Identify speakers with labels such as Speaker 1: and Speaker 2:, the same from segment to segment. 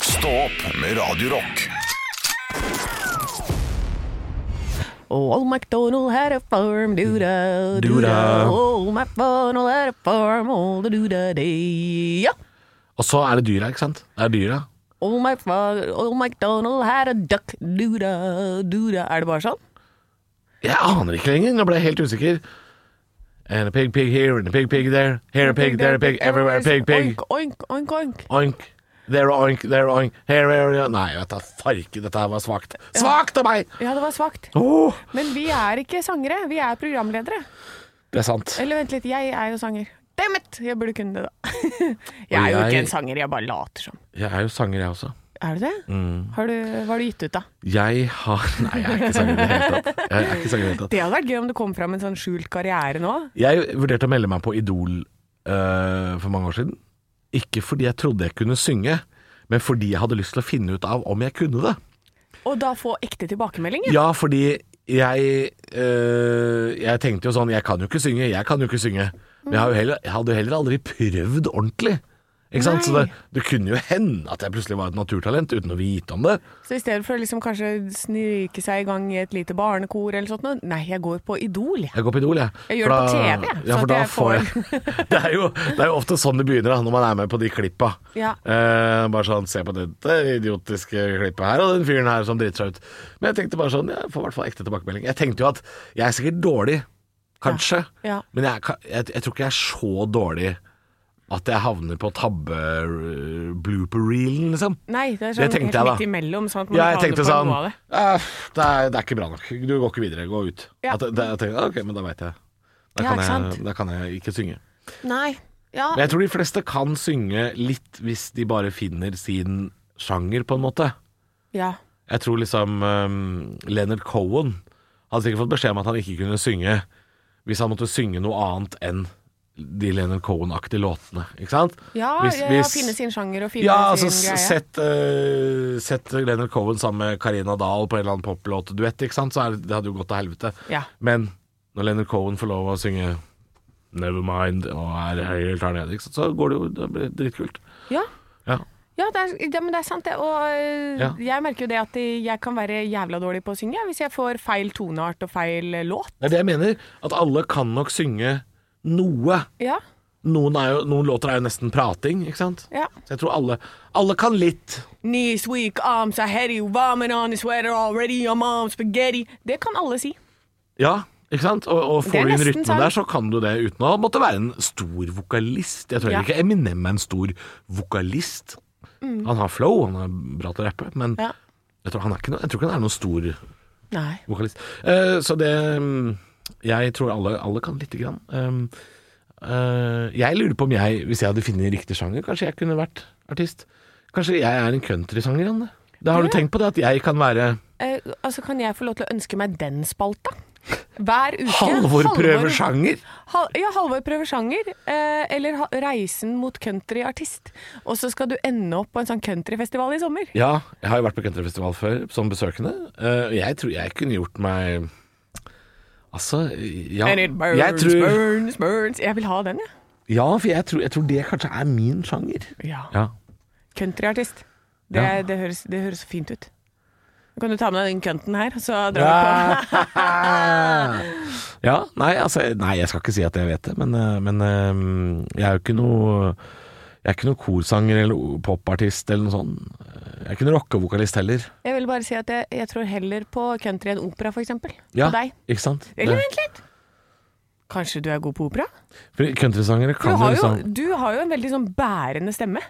Speaker 1: Stå opp med Radio Rock.
Speaker 2: Old MacDonald had a farm, doo-da, doo-da.
Speaker 3: Doo-da.
Speaker 2: Old MacDonald had a farm all the doo-da day. Ja.
Speaker 3: Og så er det dyra, ikke sant? Det er dyra.
Speaker 2: Old, Mac, old MacDonald had a duck, doo-da, doo-da. Er det bare sånn?
Speaker 3: Jeg aner ikke lenger, nå ble jeg helt usikker. And a pig, pig here, and a pig, pig there. Here a pig, there a pig, everywhere a pig, pig.
Speaker 2: Oink, oink, oink, oink.
Speaker 3: Oink. There oink, there oink. Here, here, here. Nei, vet du, farke, dette her var svakt. Svakt av meg! Oh,
Speaker 2: Ja, det var svakt.
Speaker 3: Åh,
Speaker 2: Men vi er ikke sangere, vi er programledere.
Speaker 3: det er sant.
Speaker 2: Eller vent litt, jeg er jo sanger. Dammit! Jeg burde kunne det, da. Jeg er jo
Speaker 3: Og jeg-
Speaker 2: ikke en sanger, jeg bare later som.
Speaker 3: Jeg er jo sanger, jeg også.
Speaker 2: Er du det?
Speaker 3: Mm.
Speaker 2: Har du, hva har du gitt ut, da?
Speaker 3: Jeg har Nei, jeg er ikke sanger i det hele tatt. Jeg er ikke sanger i det hele tatt.
Speaker 2: Det hadde vært gøy om det kom fram en sånn skjult karriere nå.
Speaker 3: Jeg vurderte å melde meg på Idol eh, for mange år siden. Ikke fordi jeg trodde jeg kunne synge, men fordi jeg hadde lyst til å finne ut av om jeg kunne det.
Speaker 2: Og da få ekte tilbakemelding. Ja.
Speaker 3: Ja, fordi jeg øh, Jeg tenkte jo sånn Jeg kan jo ikke synge, jeg kan jo ikke synge. Men jeg, har jo heller, jeg hadde jo heller aldri prøvd ordentlig. Ikke sant? Så
Speaker 2: Nei.
Speaker 3: det, det kunne jo hende at jeg plutselig var et naturtalent uten å vite om det.
Speaker 2: Så i stedet for å liksom kanskje snike seg i gang i et lite barnekor eller sånt noe, nei, jeg går på Idol. jeg.
Speaker 3: Jeg går på Idol, jeg.
Speaker 2: Jeg gjør
Speaker 3: For
Speaker 2: det på
Speaker 3: da-
Speaker 2: TV, jeg,
Speaker 3: Ja,
Speaker 2: så
Speaker 3: for
Speaker 2: at
Speaker 3: da
Speaker 2: jeg
Speaker 3: får jeg det, er jo, det er jo ofte sånn det begynner, da, når man er med på de klippa.
Speaker 2: Ja.
Speaker 3: Eh, bare sånn Se på dette idiotiske klippet her, og den fyren her som driter seg ut. Men jeg tenkte bare sånn Jeg får i hvert fall ekte tilbakemelding. Jeg tenkte jo at jeg er sikkert dårlig, kanskje,
Speaker 2: Ja.
Speaker 3: men jeg, er ka- jeg, jeg tror ikke jeg er så dårlig at jeg havner på tabbe-blooper-reelen, liksom.
Speaker 2: Nei, det er
Speaker 3: Det
Speaker 2: sånn
Speaker 3: tenkte
Speaker 2: helt
Speaker 3: jeg, da.
Speaker 2: midt imellom. Sånn at man
Speaker 3: Ja, jeg
Speaker 2: ikke havner
Speaker 3: tenkte
Speaker 2: på
Speaker 3: sånn
Speaker 2: noe av det.
Speaker 3: «Eh, det, er, det er ikke bra nok. Du går ikke videre. Gå ut.
Speaker 2: Ja.
Speaker 3: At, det, jeg tenkte, ok, men da veit jeg.
Speaker 2: Ja,
Speaker 3: Da, kan
Speaker 2: ikke
Speaker 3: jeg.
Speaker 2: sant?
Speaker 3: da kan jeg ikke synge.
Speaker 2: Nei. Ja.
Speaker 3: Men jeg tror de fleste kan synge litt hvis de bare finner sin sjanger, på en måte.
Speaker 2: ja.
Speaker 3: Jeg tror liksom um, Leonard Cohen hadde sikkert fått beskjed om at han ikke kunne synge hvis han måtte synge noe annet enn de Leonard Cohen-aktige låtene. Ikke sant?
Speaker 2: Ja,
Speaker 3: Hvis-
Speaker 2: ja,
Speaker 3: hvis-
Speaker 2: finne sin sjanger og finne
Speaker 3: Ja, altså
Speaker 2: sin
Speaker 3: s-
Speaker 2: greie.
Speaker 3: sett, eh, sett Leonard Cohen sammen med Karina Dahl på en eller annen poplåtduett, ikke sant, så er, det- det hadde jo gått til helvete.
Speaker 2: Ja.
Speaker 3: Men når Leonard Cohen får lov å synge Nevermind og er helt her nede, ikke sant, så går det jo det blir dritkult.
Speaker 2: Ja.
Speaker 3: Ja.
Speaker 2: Ja, det er, ja, men det er sant det. Og øh,
Speaker 3: Ja.
Speaker 2: jeg merker jo det at øh, jeg kan være jævla dårlig på å synge jeg, hvis jeg får feil toneart og feil øh, låt.
Speaker 3: Det er det jeg mener, at alle kan nok synge noe.
Speaker 2: Ja,
Speaker 3: Noen, er jo, noen låter er jo nesten prating, ikke sant?
Speaker 2: ja.
Speaker 3: Så jeg tror alle, alle kan litt.
Speaker 2: Knees weak, arms are heavy, vomit on the sweater already, I'm on spaghetti. Det kan alle si.
Speaker 3: Ja, ikke sant? Og, og
Speaker 2: Det
Speaker 3: får
Speaker 2: er
Speaker 3: du inn
Speaker 2: nesten
Speaker 3: rytmen
Speaker 2: sånn.
Speaker 3: der, så kan du det uten å måtte være en stor vokalist. Jeg tror
Speaker 2: Ja. Mm.
Speaker 3: ikke Eminem er en stor vokalist. Han har flow, han er bra til å rappe, men
Speaker 2: Ja.
Speaker 3: jeg, tror han er ikke noe, jeg tror ikke han er noen stor
Speaker 2: Nei.
Speaker 3: vokalist. Eh, så det mm, Jeg tror alle, alle kan lite grann. Um, eh, jeg lurer på om jeg, hvis jeg hadde funnet riktig sjanger, kanskje jeg kunne vært artist. Kanskje jeg er en countrysanger, Anne. Da har du
Speaker 2: Ja.
Speaker 3: tenkt på det, at jeg kan være
Speaker 2: Eh, altså, kan jeg få lov til å ønske meg den spalta? Hver uke.
Speaker 3: Halvor prøver sjanger?
Speaker 2: Hal ja, Halvor prøver sjanger. Eh, eller ha Reisen mot countryartist. Og så skal du ende opp på en sånn countryfestival i sommer.
Speaker 3: Ja, jeg har jo vært på countryfestival før som besøkende. Eh, og jeg tror jeg kunne gjort meg Altså, ja
Speaker 2: And it burns,
Speaker 3: jeg tror,
Speaker 2: burns, burns. Jeg vil ha den, jeg.
Speaker 3: Ja, for jeg tror, jeg tror det kanskje er min sjanger.
Speaker 2: Ja.
Speaker 3: Ja.
Speaker 2: Countryartist. Det,
Speaker 3: Ja.
Speaker 2: det, høres, det høres fint ut. Da Kan du ta med deg den cunten her, så drar vi på.
Speaker 3: ja, nei, altså Nei, jeg skal ikke si at jeg vet det, men, eh, men eh, jeg er jo ikke noe Jeg er ikke noe korsanger eller popartist eller noe sånt. Jeg er ikke noe rockevokalist heller.
Speaker 2: Jeg vil bare si at jeg, jeg tror heller på country enn opera, for eksempel.
Speaker 3: Ja,
Speaker 2: På deg.
Speaker 3: Ikke sant?
Speaker 2: Eller
Speaker 3: Det-
Speaker 2: vent litt! Kanskje du er god på opera?
Speaker 3: for Countrysangere
Speaker 2: Du
Speaker 3: kan jo
Speaker 2: har jo,
Speaker 3: liksom
Speaker 2: du har jo en veldig sånn bærende stemme.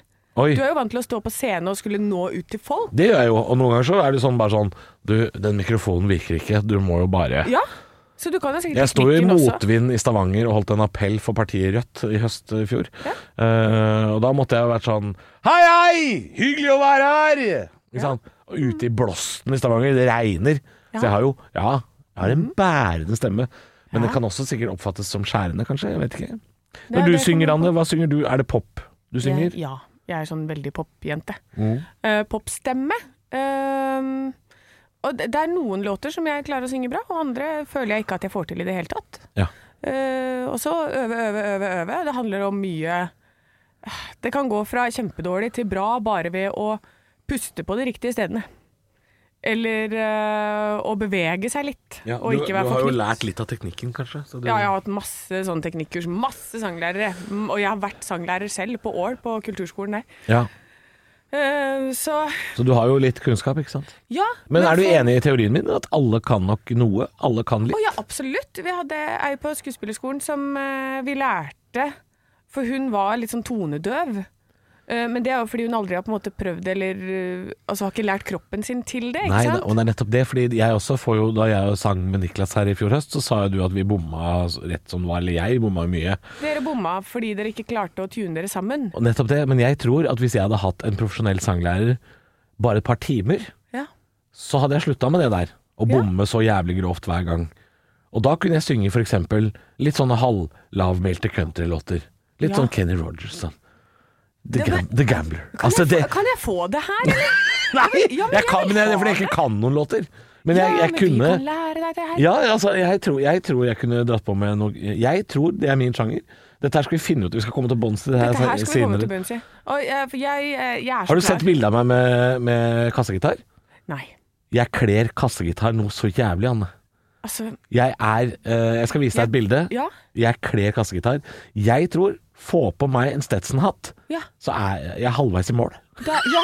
Speaker 3: Oi.
Speaker 2: Du er jo vant til å stå på scene og skulle nå ut til folk.
Speaker 3: Det gjør jeg jo, og noen ganger så er det sånn bare sånn Du, den mikrofonen virker ikke, du må jo bare
Speaker 2: Ja, så du kan jo sikkert
Speaker 3: Jeg sto jo i
Speaker 2: teknikken også.
Speaker 3: motvind i Stavanger og holdt en appell for partiet Rødt i høst i fjor. Eh, og da måtte jeg ha vært sånn Hei, hei! Hyggelig å være her! Ikke sant? Og ute i blåsten i Stavanger, det regner. Så jeg har jo Ja, jeg har en
Speaker 2: Mm.
Speaker 3: bærende stemme. Men det kan også sikkert oppfattes som skjærende, kanskje. Jeg vet ikke.
Speaker 2: er sånn.
Speaker 3: Når du
Speaker 2: det som-
Speaker 3: synger, Anne, hva synger du? Er det pop du synger?
Speaker 2: Jeg, ja, jeg er sånn veldig popjente. Eh, popstemme. Ehm, og det, det er noen låter som jeg klarer å synge bra, og andre føler jeg ikke at jeg får til i det hele tatt.
Speaker 3: Ja.
Speaker 2: Eh, og så øve, øve, øve, øve. Det eh, handler om mye Det kan gå fra kjempedårlig til bra bare ved å puste på de riktige stedene. Eller eh, å bevege seg litt, og ikke være for knytt.
Speaker 3: litt av teknikken, kanskje? så du-
Speaker 2: Ja, jeg har hatt masse sånne teknikkurs, masse sanglærere. Mm, Og jeg har vært sanglærer selv, på Ål, på kulturskolen der.
Speaker 3: Ja.
Speaker 2: Eh, så
Speaker 3: Så du har jo litt kunnskap, ikke sant?
Speaker 2: ja.
Speaker 3: Men er du
Speaker 2: for-
Speaker 3: enig i teorien min at alle kan nok noe? Alle kan
Speaker 2: Å
Speaker 3: litt?
Speaker 2: ja, absolutt. Vi hadde ei på skuespillerskolen som eh, vi lærte For hun var litt sånn tonedøv. Eh, men det er jo fordi hun aldri har på en måte prøvd eller eh, Altså har ikke lært kroppen sin til det, ikke
Speaker 3: Nei,
Speaker 2: sant?
Speaker 3: da- og det er nettopp det, fordi jeg også får jo, da jeg sang med Niklas her i fjor høst, så sa jo du at vi bomma rett som det var, eller jeg bomma mye.
Speaker 2: Dere bomma fordi dere ikke klarte å tune dere sammen.
Speaker 3: Og nettopp det, men jeg tror at hvis jeg hadde hatt en profesjonell sanglærer bare et par timer,
Speaker 2: Ja.
Speaker 3: så hadde jeg slutta med det der. Å
Speaker 2: Ja.
Speaker 3: bomme så jævlig grovt hver gang. Og da kunne jeg synge for eksempel litt sånne halvlavmælte countrylåter. Litt
Speaker 2: Ja.
Speaker 3: sånn Kenny Rogers. Sånn. The,
Speaker 2: Det var-
Speaker 3: gam The Gambler.
Speaker 2: Kan,
Speaker 3: Altså,
Speaker 2: jeg,
Speaker 3: det,
Speaker 2: få, kan jeg få det her, eller?
Speaker 3: nei!
Speaker 2: Ja, men
Speaker 3: jeg
Speaker 2: jeg
Speaker 3: kan,
Speaker 2: vil
Speaker 3: men jeg,
Speaker 2: ha
Speaker 3: fordi jeg ikke kan noen låter. Men jeg, jeg
Speaker 2: ja, men Vi
Speaker 3: kunne
Speaker 2: kan lære deg det her.
Speaker 3: Ja, altså, jeg tror, jeg tror jeg kunne dratt på med noe Jeg tror det er min sjanger. Dette her skal vi finne ut. Vi skal komme til bunns i det her,
Speaker 2: Dette her skal vi komme
Speaker 3: senere.
Speaker 2: til bunns i. Og jeg, for jeg, jeg, jeg er så
Speaker 3: Har du sett bilde av meg med, med kassegitar?
Speaker 2: Nei.
Speaker 3: Jeg kler kassegitar noe så jævlig, Anne.
Speaker 2: Altså,
Speaker 3: Jeg er eh, Jeg skal vise deg et bilde.
Speaker 2: ja.
Speaker 3: Jeg kler kassegitar. Jeg tror Få på meg en Stetson-hatt,
Speaker 2: Ja.
Speaker 3: så er jeg- jeg er halvveis i mål.
Speaker 2: Da, ja.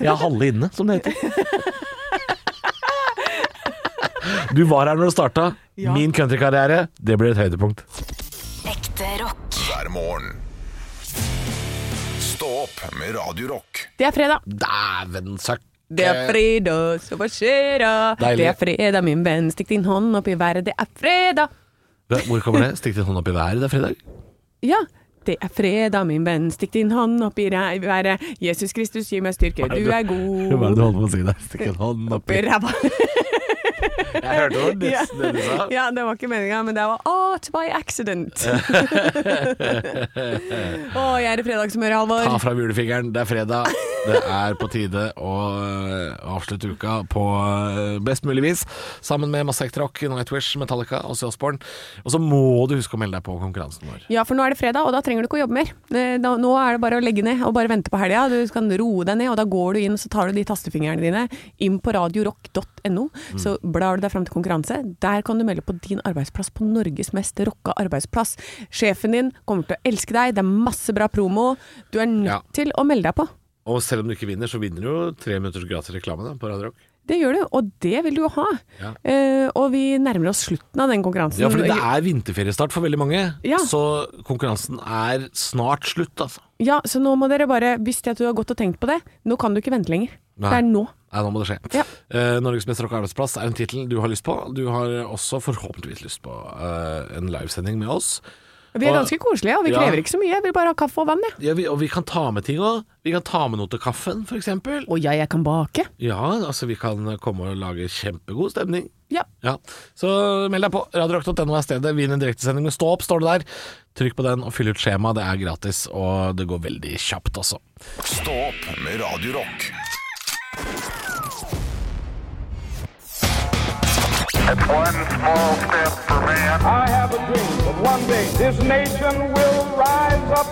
Speaker 3: Jeg er halve inne, som det heter. Du var her når det starta.
Speaker 2: Ja.
Speaker 3: Min countrykarriere, det blir et høydepunkt.
Speaker 4: Ekte rock.
Speaker 1: hver morgen. Stå opp med Radio Rock.
Speaker 2: Det er fredag.
Speaker 3: Dæven søkk.
Speaker 2: Det er fredag, så hva skjer da?
Speaker 3: Deilig.
Speaker 2: Det er fredag, min venn, stikk din hånd opp i været, det er fredag.
Speaker 3: Hvor kommer det? Stikk din hånd opp i været, det er fredag.
Speaker 2: Ja, det er fredag, min venn, stikk din hånd opp i re- været. Jesus Kristus, gi meg styrke, du er
Speaker 3: Hva er det
Speaker 2: god.
Speaker 3: du holder på å si der? Stikk din hånd opp i
Speaker 2: Oppi ræva.
Speaker 3: Jeg hørte jo nesten det du sa.
Speaker 2: Ja, det var ikke meninga, men det var art by accident. Å, jeg er i fredagshumør,
Speaker 3: Ta
Speaker 2: Halvor.
Speaker 3: fram julefingeren, det er fredag. Det er på tide å øh, avslutte uka på øh, best mulig vis. Sammen med masse ekte rock, Nightwish, Metallica og Osborne. Og så må du huske å melde deg på konkurransen vår.
Speaker 2: Ja, for nå er det fredag, og da trenger du ikke å jobbe mer. Eh, da- Nå er det bare å legge ned og bare vente på helga. Du kan roe deg ned, og da går du inn og så tar du de tastefingrene dine inn på radiorock.no.
Speaker 3: Mm.
Speaker 2: Så blar du deg fram til konkurranse. Der kan du melde på din arbeidsplass på Norges mest rocka arbeidsplass. Sjefen din kommer til å elske deg, det er masse bra promo. Du er nødt
Speaker 3: Ja.
Speaker 2: til å melde deg på.
Speaker 3: Og selv om du ikke vinner, så vinner du jo tre minutters gratis reklame da, på Radio Rock.
Speaker 2: Det gjør du, og det vil du jo ha.
Speaker 3: Ja.
Speaker 2: Eh, og vi nærmer oss slutten av den konkurransen.
Speaker 3: Ja, fordi det er vinterferiestart for veldig mange,
Speaker 2: Ja.
Speaker 3: så konkurransen er snart slutt, altså.
Speaker 2: Ja, så nå må dere bare, hvis det at du har gått og tenkt på det, nå kan du ikke vente lenger.
Speaker 3: Nei.
Speaker 2: Det er nå.
Speaker 3: Nei, nå må det skje.
Speaker 2: Ja.
Speaker 3: Eh, Norges mest rocka arbeidsplass er en tittel du har lyst på. Du har også forhåpentligvis lyst på eh, en livesending med oss.
Speaker 2: Vi er
Speaker 3: Og-
Speaker 2: ganske koselige, og vi
Speaker 3: Ja.
Speaker 2: krever ikke så mye. Jeg vil bare ha kaffe og vann, jeg.
Speaker 3: Ja, vi, og vi kan ta med ting òg. Vi kan ta med noe til kaffen, f.eks.
Speaker 2: Å ja, jeg kan bake.
Speaker 3: Ja, altså vi kan komme og lage kjempegod stemning.
Speaker 2: Ja.
Speaker 3: Ja, Så meld deg på. Radiorock.no er stedet. Vinn en direktesending med Stå opp, står det der. Trykk på den og fyll ut skjema. Det er gratis, og det går veldig kjapt også.
Speaker 1: Stå opp med Radio Rock.
Speaker 5: It's one small step for man.
Speaker 6: I have a dream that one day this nation will rise up.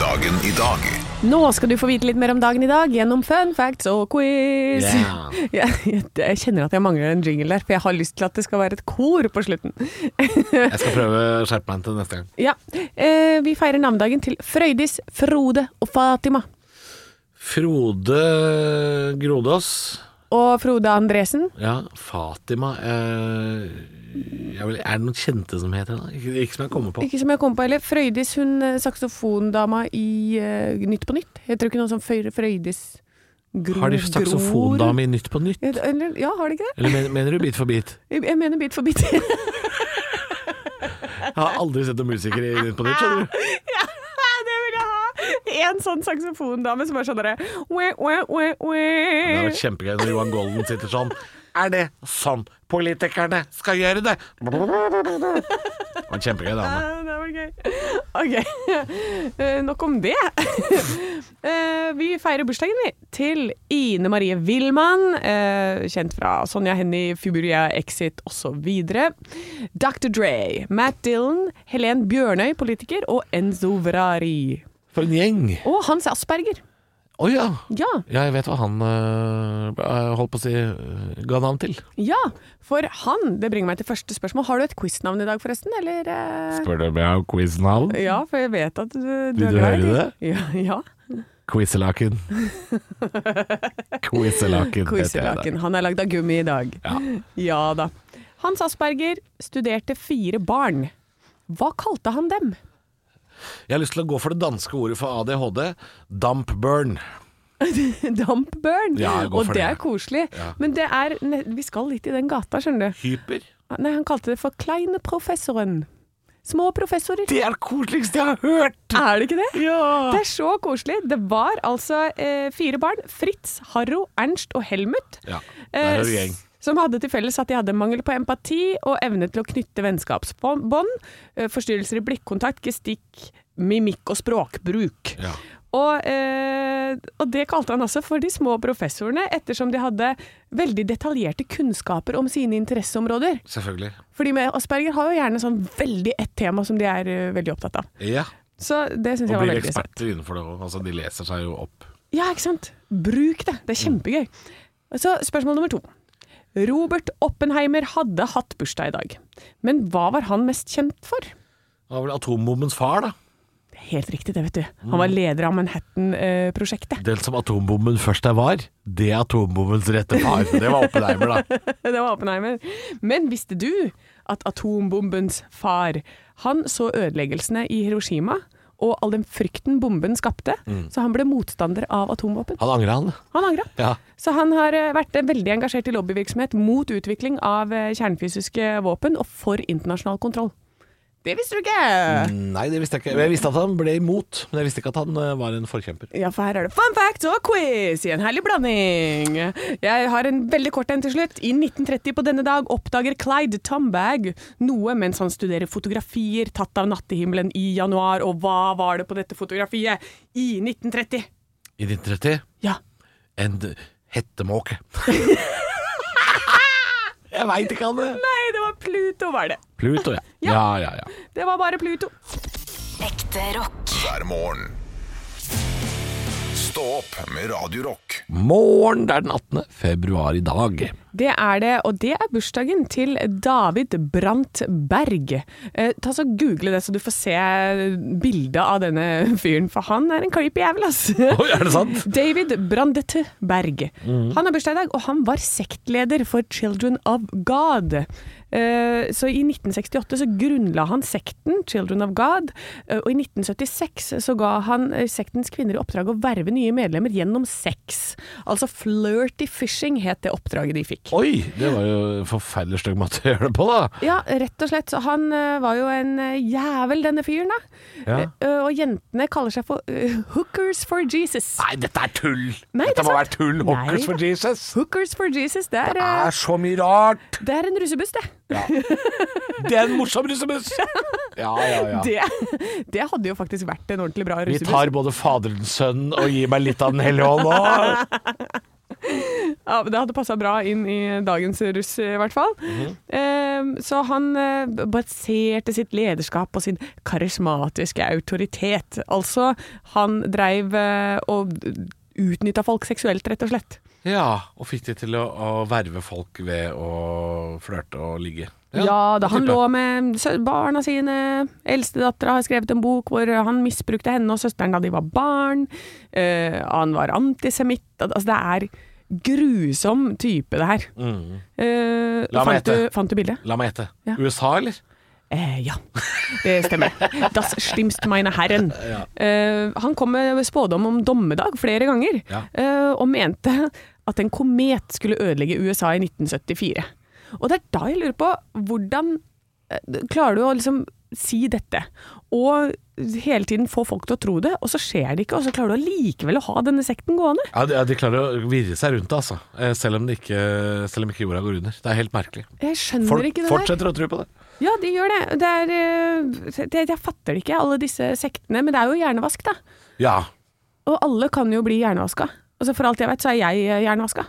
Speaker 1: Dagen i dag.
Speaker 2: Nå skal du få vite litt mer om dagen i dag gjennom fun facts og quiz.
Speaker 3: Ja.
Speaker 2: Jeg, jeg, jeg kjenner at jeg mangler en jingle der, for jeg har lyst til at det skal være et kor på slutten.
Speaker 3: Jeg skal prøve å skjerpe meg til neste gang.
Speaker 2: ja. Eh, vi feirer navnedagen til Frøydis, Frode og Fatima.
Speaker 3: Frode Grodås.
Speaker 2: Og Frode Andresen.
Speaker 3: Ja, Fatima eh, jeg vil, Er det noen kjente som heter det? da? Ikke, ikke som jeg kommer på.
Speaker 2: Ikke som jeg kom på heller. Frøydis, hun eh, saksofondama i eh, Nytt på nytt. Jeg tror ikke noen som Frøy- Frøydis Gro
Speaker 3: Har de saksofondame i Nytt på Nytt?
Speaker 2: Gror- Eller- Ja, har de ikke det?
Speaker 3: Eller men- mener du Bit for bit?
Speaker 2: Jeg jeg mener Bit for bit.
Speaker 3: Jeg har aldri sett noen musikere i Nytt på Nytt, skjønner du.
Speaker 2: Ja, det vil jeg ha! En sånn saksofondame som bare sånn derre «Wæ, wæ, wæ,
Speaker 3: Det hadde
Speaker 2: wæ».
Speaker 3: vært kjempegøy når Johan Golden sitter sånn. Er det sånn politikerne skal gjøre det? Det var kjempegøy, det.
Speaker 2: Ja,
Speaker 3: Anne.
Speaker 2: Det var gøy. Ok, Eh, nok om det. Eh, Vi feirer bursdagen vi til Ine Marie Willmann, eh, kjent fra Sonja Hennie, Fuburia, Exit osv. Dr. Dre, Matt Dillon, Helen Bjørnøy, politiker, og Enzo Verari.
Speaker 3: For en gjeng.
Speaker 2: Og Hans Asperger.
Speaker 3: Å ja.
Speaker 2: Ja,
Speaker 3: Jeg vet hva han øh, holdt på å si øh, ga navn til.
Speaker 2: ja, for han Det bringer meg til første spørsmål. Har du et quiznavn i dag, forresten? Eller eh,
Speaker 3: Spør du om jeg har quiznavn?
Speaker 2: Ja, for jeg vet at du, du er
Speaker 3: Vil du
Speaker 2: glad i
Speaker 3: høre
Speaker 2: de. Ja, ja.
Speaker 3: Quizelaken. Quizelaken heter jeg i dag.
Speaker 2: Quizelaken. Han er lagd av gummi i dag.
Speaker 3: Ja.
Speaker 2: Ja da. Hans Asperger studerte fire barn. Hva kalte han dem?
Speaker 3: Jeg har lyst til å gå for det danske ordet for ADHD. Dumpburn.
Speaker 2: Dampburn!
Speaker 3: Ja, jeg går
Speaker 2: og
Speaker 3: for
Speaker 2: det
Speaker 3: det.
Speaker 2: er koselig. Men det er ne- Vi skal litt i den gata, skjønner du.
Speaker 3: Hyper.
Speaker 2: Nei, han kalte det for Kleine professoren. Små professorer.
Speaker 3: Det er det koseligste jeg har hørt!
Speaker 2: Er det ikke det?
Speaker 3: Ja!
Speaker 2: Det er så koselig. Det var altså eh, fire barn. Fritz, Harro, Ernst og Helmut.
Speaker 3: ja.
Speaker 2: eh,
Speaker 3: Der er du gjeng.
Speaker 2: Som hadde til felles at de hadde mangel på empati og evne til å knytte vennskapsbånd, eh, forstyrrelser i blikkontakt, gestikk, mimikk og språkbruk.
Speaker 3: Ja.
Speaker 2: Og, eh, og det kalte han altså for de små professorene, ettersom de hadde veldig detaljerte kunnskaper om sine interesseområder.
Speaker 3: Selvfølgelig.
Speaker 2: For de med asperger har jo gjerne sånn veldig ett tema som de er eh, veldig opptatt av.
Speaker 3: Ja.
Speaker 2: Så det syns
Speaker 3: Og
Speaker 2: jeg var
Speaker 3: blir
Speaker 2: veldig søtt.
Speaker 3: eksperter innenfor det òg. Altså, de leser seg jo opp.
Speaker 2: Ja, ikke sant? Bruk det. Det er kjempegøy. Så spørsmål nummer to. Robert Oppenheimer hadde hatt bursdag i dag. Men hva var han mest kjent for?
Speaker 3: Det var vel atombombens far, da.
Speaker 2: Helt riktig, det vet du. Han var leder av Manhattan-prosjektet.
Speaker 3: Den som atombomben først der var, det er atombombens rette far. Det var Oppenheimer, da.
Speaker 2: Det var Oppenheimer. Men visste du at atombombens far Han så ødeleggelsene i Hiroshima og all den frykten bomben skapte, så han ble motstander av atomvåpen.
Speaker 3: Han angra, han.
Speaker 2: Han angra.
Speaker 3: Ja.
Speaker 2: Så han har eh, vært eh, veldig engasjert i lobbyvirksomhet mot utvikling av eh, kjernefysiske våpen og for internasjonal kontroll. Det visste du ikke!
Speaker 3: Nei, det visste jeg ikke. Jeg visste at han ble imot, men jeg visste ikke at han eh, var en forkjemper.
Speaker 2: Ja, for her er det fun facts og quiz i en herlig blanding. Jeg har en veldig kort en til slutt. I 1930 på denne dag oppdager Clyde Tombag noe mens han studerer fotografier tatt av nattehimmelen i januar. Og hva var det på dette fotografiet i 1930?
Speaker 3: I 1930
Speaker 2: Ja,
Speaker 3: en hettemåke. jeg veit ikke han det.
Speaker 2: nei, det var Pluto, var det.
Speaker 3: Pluto, ja. ja. Ja, ja,
Speaker 2: Det var bare Pluto.
Speaker 4: Ekte rock.
Speaker 1: hver morgen. Stå opp med Radio Rock.
Speaker 3: Morgen, det er den 18. februar i dag.
Speaker 2: Det er det, og det er bursdagen til David Brandt Berg. Eh, ta så Google det, så du får se bildet av denne fyren, for han er en klype jævel, ass.
Speaker 3: Oi, er det sant?
Speaker 2: David Brandete Berg. Han har bursdag i dag, og han var sektleder for Children of God. Eh, Så i 1968 så grunnla han sekten Children of God, eh, og i 1976 så ga han eh, sektens kvinner i oppdrag å verve nye medlemmer gjennom sex. Altså flirty fishing het det oppdraget de fikk.
Speaker 3: Oi, det var jo en forferdelig stygg måte å gjøre det på, da.
Speaker 2: Ja, rett og slett. Så han eh, var jo en eh, jævel, denne fyren, da.
Speaker 3: Ja.
Speaker 2: Eh, ø, og jentene kaller seg for eh, Hookers for Jesus.
Speaker 3: Nei, dette er tull!
Speaker 2: Nei, det
Speaker 3: dette
Speaker 2: er
Speaker 3: må
Speaker 2: sant.
Speaker 3: være tull! Hockers
Speaker 2: Nei,
Speaker 3: for Jesus!
Speaker 2: Hookers for Jesus, det er,
Speaker 3: Det
Speaker 2: eh,
Speaker 3: er så mye rart!
Speaker 2: det er en russebuss, det.
Speaker 3: Det er en morsom russebuss! Ja, ja, ja.
Speaker 2: det. Det hadde jo faktisk vært en ordentlig bra
Speaker 3: Vi
Speaker 2: russebuss.
Speaker 3: tar både Faderens sønn og gir meg litt av Den hellige ånd òg.
Speaker 2: Ja, det hadde passa bra inn i dagens russ, i hvert fall.
Speaker 3: Mhm.
Speaker 2: Eh, så han eh, baserte sitt lederskap på sin karismatiske autoritet. Altså, han dreiv eh, og utnytta folk seksuelt, rett og slett.
Speaker 3: Ja, og fikk de til å, å verve folk ved å flørte og ligge.
Speaker 2: Ja, da
Speaker 3: det
Speaker 2: han
Speaker 3: tipper jeg.
Speaker 2: lå med sø- barna sine. Eldstedattera har skrevet en bok hvor han misbrukte henne og søsteren da de var barn. Eh, han var antisemitt. Al- Altså, det er grusom type, det her. Eh,
Speaker 3: Mm. La meg
Speaker 2: fant, du,
Speaker 3: gjette.
Speaker 2: fant du bildet?
Speaker 3: La meg gjette.
Speaker 2: Ja.
Speaker 3: USA, eller?
Speaker 2: Eh, ja, det stemmer. Das stimmt meine Herren. Eh, han kom med spådom om dommedag flere ganger,
Speaker 3: Ja.
Speaker 2: eh, og mente at en komet skulle ødelegge USA i 1974. Og det er da jeg lurer på hvordan eh, Klarer du å liksom si dette, og hele tiden få folk til å tro det, og så skjer det ikke, og så klarer du allikevel å ha denne sekten gående?
Speaker 3: Ja, de, ja, de klarer å virre seg rundt det, altså. Eh, Selv om, det ikke, selv om ikke jorda går under. Det er helt merkelig.
Speaker 2: Jeg skjønner
Speaker 3: Folk
Speaker 2: ikke det der.
Speaker 3: fortsetter å tro på det.
Speaker 2: Ja, de gjør det. det, er, eh, det jeg fatter det ikke, alle disse sektene. Men det er jo hjernevask, da.
Speaker 3: Ja.
Speaker 2: Og alle kan jo bli hjernevaska. Altså for alt jeg vet, så er jeg eh, hjernevaska.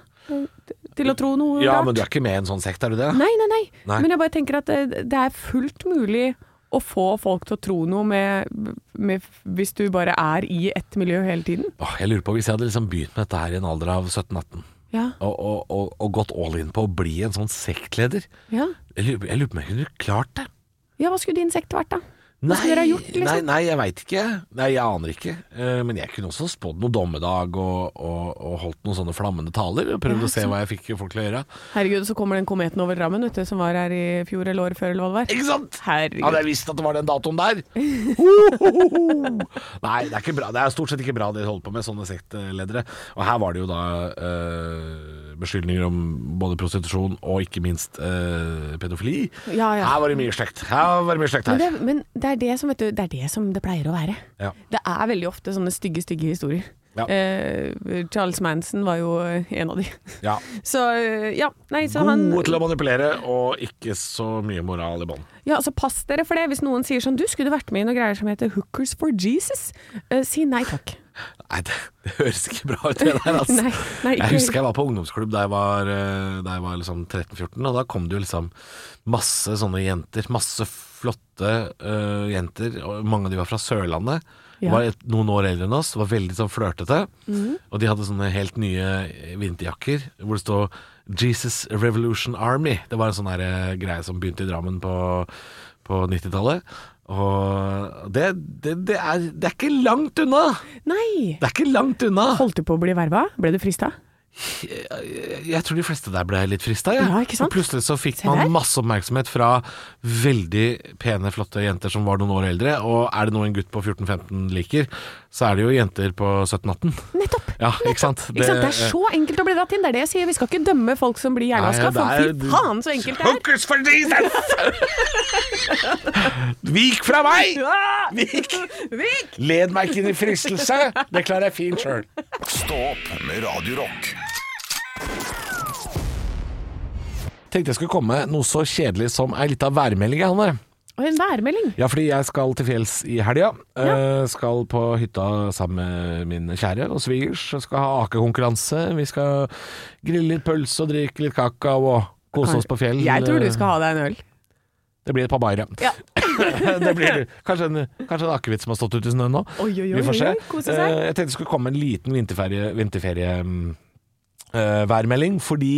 Speaker 2: Til å tro noe
Speaker 3: ja,
Speaker 2: rart.
Speaker 3: men du er ikke med i en sånn sekt, er du det?
Speaker 2: Nei, nei, nei,
Speaker 3: Nei.
Speaker 2: Men jeg bare tenker at det, det er eh, fullt mulig å få folk til å tro noe med, med hvis du bare er i ett miljø hele tiden.
Speaker 3: Åh, Jeg lurer på Hvis jeg hadde liksom begynt med dette her i en alder av 17-18,
Speaker 2: Ja.
Speaker 3: og, og, og, og gått all in på å bli en sånn sektleder
Speaker 2: Ja,
Speaker 3: Jeg lurer jeg lurer på om jeg kunne klart det.
Speaker 2: ja hva skulle din sekt vært, da? Hva skulle dere ha gjort,
Speaker 3: nei,
Speaker 2: liksom?
Speaker 3: nei, jeg veit ikke. Nei, Jeg aner ikke. Eh, Men jeg kunne også spådd noe dommedag og, og, og holdt noen sånne flammende taler. og Prøvd å se hva jeg fikk folk til å gjøre.
Speaker 2: Herregud, så kommer den kometen over Drammen, vet du, som var her i fjor eller året før, eller hva det var.
Speaker 3: Ikke sant? Hadde
Speaker 2: Herregud.
Speaker 3: jeg visst at det var den datoen der! Hohoho. Nei, det er, ikke bra. det er stort sett ikke bra det de holder på med, sånne sektledere. Og her var det jo da eh, beskyldninger om både prostitusjon og ikke minst eh, pedofili.
Speaker 2: Ja, ja.
Speaker 3: Her var det mye slekt. Her var det mye slekt
Speaker 2: Men
Speaker 3: her.
Speaker 2: det, men det er det som, vet du, det er det som det pleier å være.
Speaker 3: Ja.
Speaker 2: Det er veldig ofte sånne stygge, stygge historier.
Speaker 3: Ja.
Speaker 2: Eh, Charles Manson var jo eh, en av de.
Speaker 3: Ja.
Speaker 2: Så eh, ja, nei, så han
Speaker 3: Gode til å manipulere og ikke så mye moral i bånn.
Speaker 2: Ja, så pass dere for det hvis noen sier sånn Du skulle vært med i noen greier som heter Hookers for Jesus. Eh, si nei takk.
Speaker 3: Nei, det, det høres ikke bra ut det der, altså.
Speaker 2: Nei, nei, ikke.
Speaker 3: Jeg husker jeg var på ungdomsklubb da jeg var, eh, da jeg var liksom 13-14, og da kom det jo liksom masse sånne jenter, masse flotte eh, jenter, og mange av de var fra Sørlandet,
Speaker 2: Ja. Mhm.
Speaker 3: var et, noen år eldre enn oss, var veldig sånn flørtete, og de hadde sånne helt nye vinterjakker, hvor det stod Jesus Revolution Army. Det var en sånn der, eh, greie som begynte i Drammen på, på 90-tallet, og det, det, det, er, det er ikke langt unna!
Speaker 2: Nei!
Speaker 3: Det er ikke langt unna.
Speaker 2: Holdt du på å bli verva? Ble du frista?
Speaker 3: Jeg, jeg tror de fleste der ble litt frista. jeg.
Speaker 2: Ja, ikke sant?
Speaker 3: Og Plutselig så fikk
Speaker 2: Se der.
Speaker 3: man masse oppmerksomhet fra veldig pene, flotte jenter som var noen år eldre. Og er det noe en gutt på 14-15 liker, så er det jo jenter på 17-18.
Speaker 2: Nettopp!
Speaker 3: Ja, ikke sant?
Speaker 2: Ikke sant? Det er så enkelt å bli dratt inn. Det er det jeg sier. Vi skal ikke dømme folk som blir hjernevaska. For fy faen, så enkelt det er!
Speaker 3: Hookers for Jesus! Vik fra meg!
Speaker 2: Ah!
Speaker 3: Vik!
Speaker 2: Vik!
Speaker 3: Led meg ikke inn i fristelse. Det klarer jeg fint sjøl.
Speaker 1: Stå opp med Radio Rock.
Speaker 3: Tenkte jeg skulle komme med noe så kjedelig som ei lita værmelding, jeg, Hanne.
Speaker 2: Og en værmelding.
Speaker 3: Ja, fordi jeg skal til fjells i helga. Eh, Skal på hytta sammen med min kjære og svigers. og Skal ha akekonkurranse. Vi skal grille litt pølse og drikke litt kakao og kose oss på fjell. eh.
Speaker 2: Jeg tror du skal ha deg en øl.
Speaker 3: Det blir et par bayer, ja. det blir, kanskje en, kanskje en akevitt som har stått ute i snøen nå.
Speaker 2: Oi, oi, oi,
Speaker 3: Vi får se.
Speaker 2: oi, kose seg.
Speaker 3: Eh, Jeg tenkte det skulle komme en liten vinterferie, vinterferie mm, eh, værmelding, fordi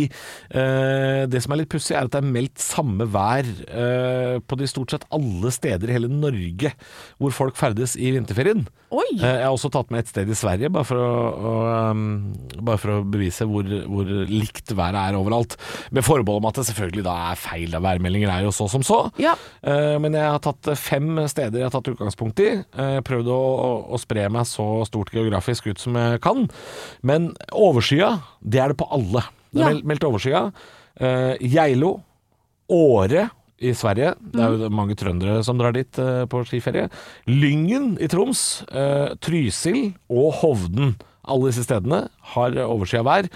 Speaker 3: eh, det som er litt pussig, er at det er meldt samme vær eh, på de stort sett alle steder i hele Norge hvor folk ferdes i vinterferien.
Speaker 2: Oi!
Speaker 3: Eh, jeg har også tatt med et sted i Sverige, bare for å, å, ehm, bare for å bevise hvor, hvor likt været er overalt. Med forbehold om at det selvfølgelig da er feil, da værmeldinger er jo så som så.
Speaker 2: Ja.
Speaker 3: Eh, men jeg har tatt fem steder jeg har tatt utgangspunkt i. Eh, prøvd å, å, å spre meg så stort geografisk ut som jeg kan. Men overskya, det er det på alle.
Speaker 2: Ja.
Speaker 3: Det er mel- meldt overskya. Eh, Geilo, Åre i Sverige. Det er jo mange trøndere som drar dit eh, på skiferie. Lyngen i Troms, eh, Trysil og Hovden. Alle disse stedene har oversida vær,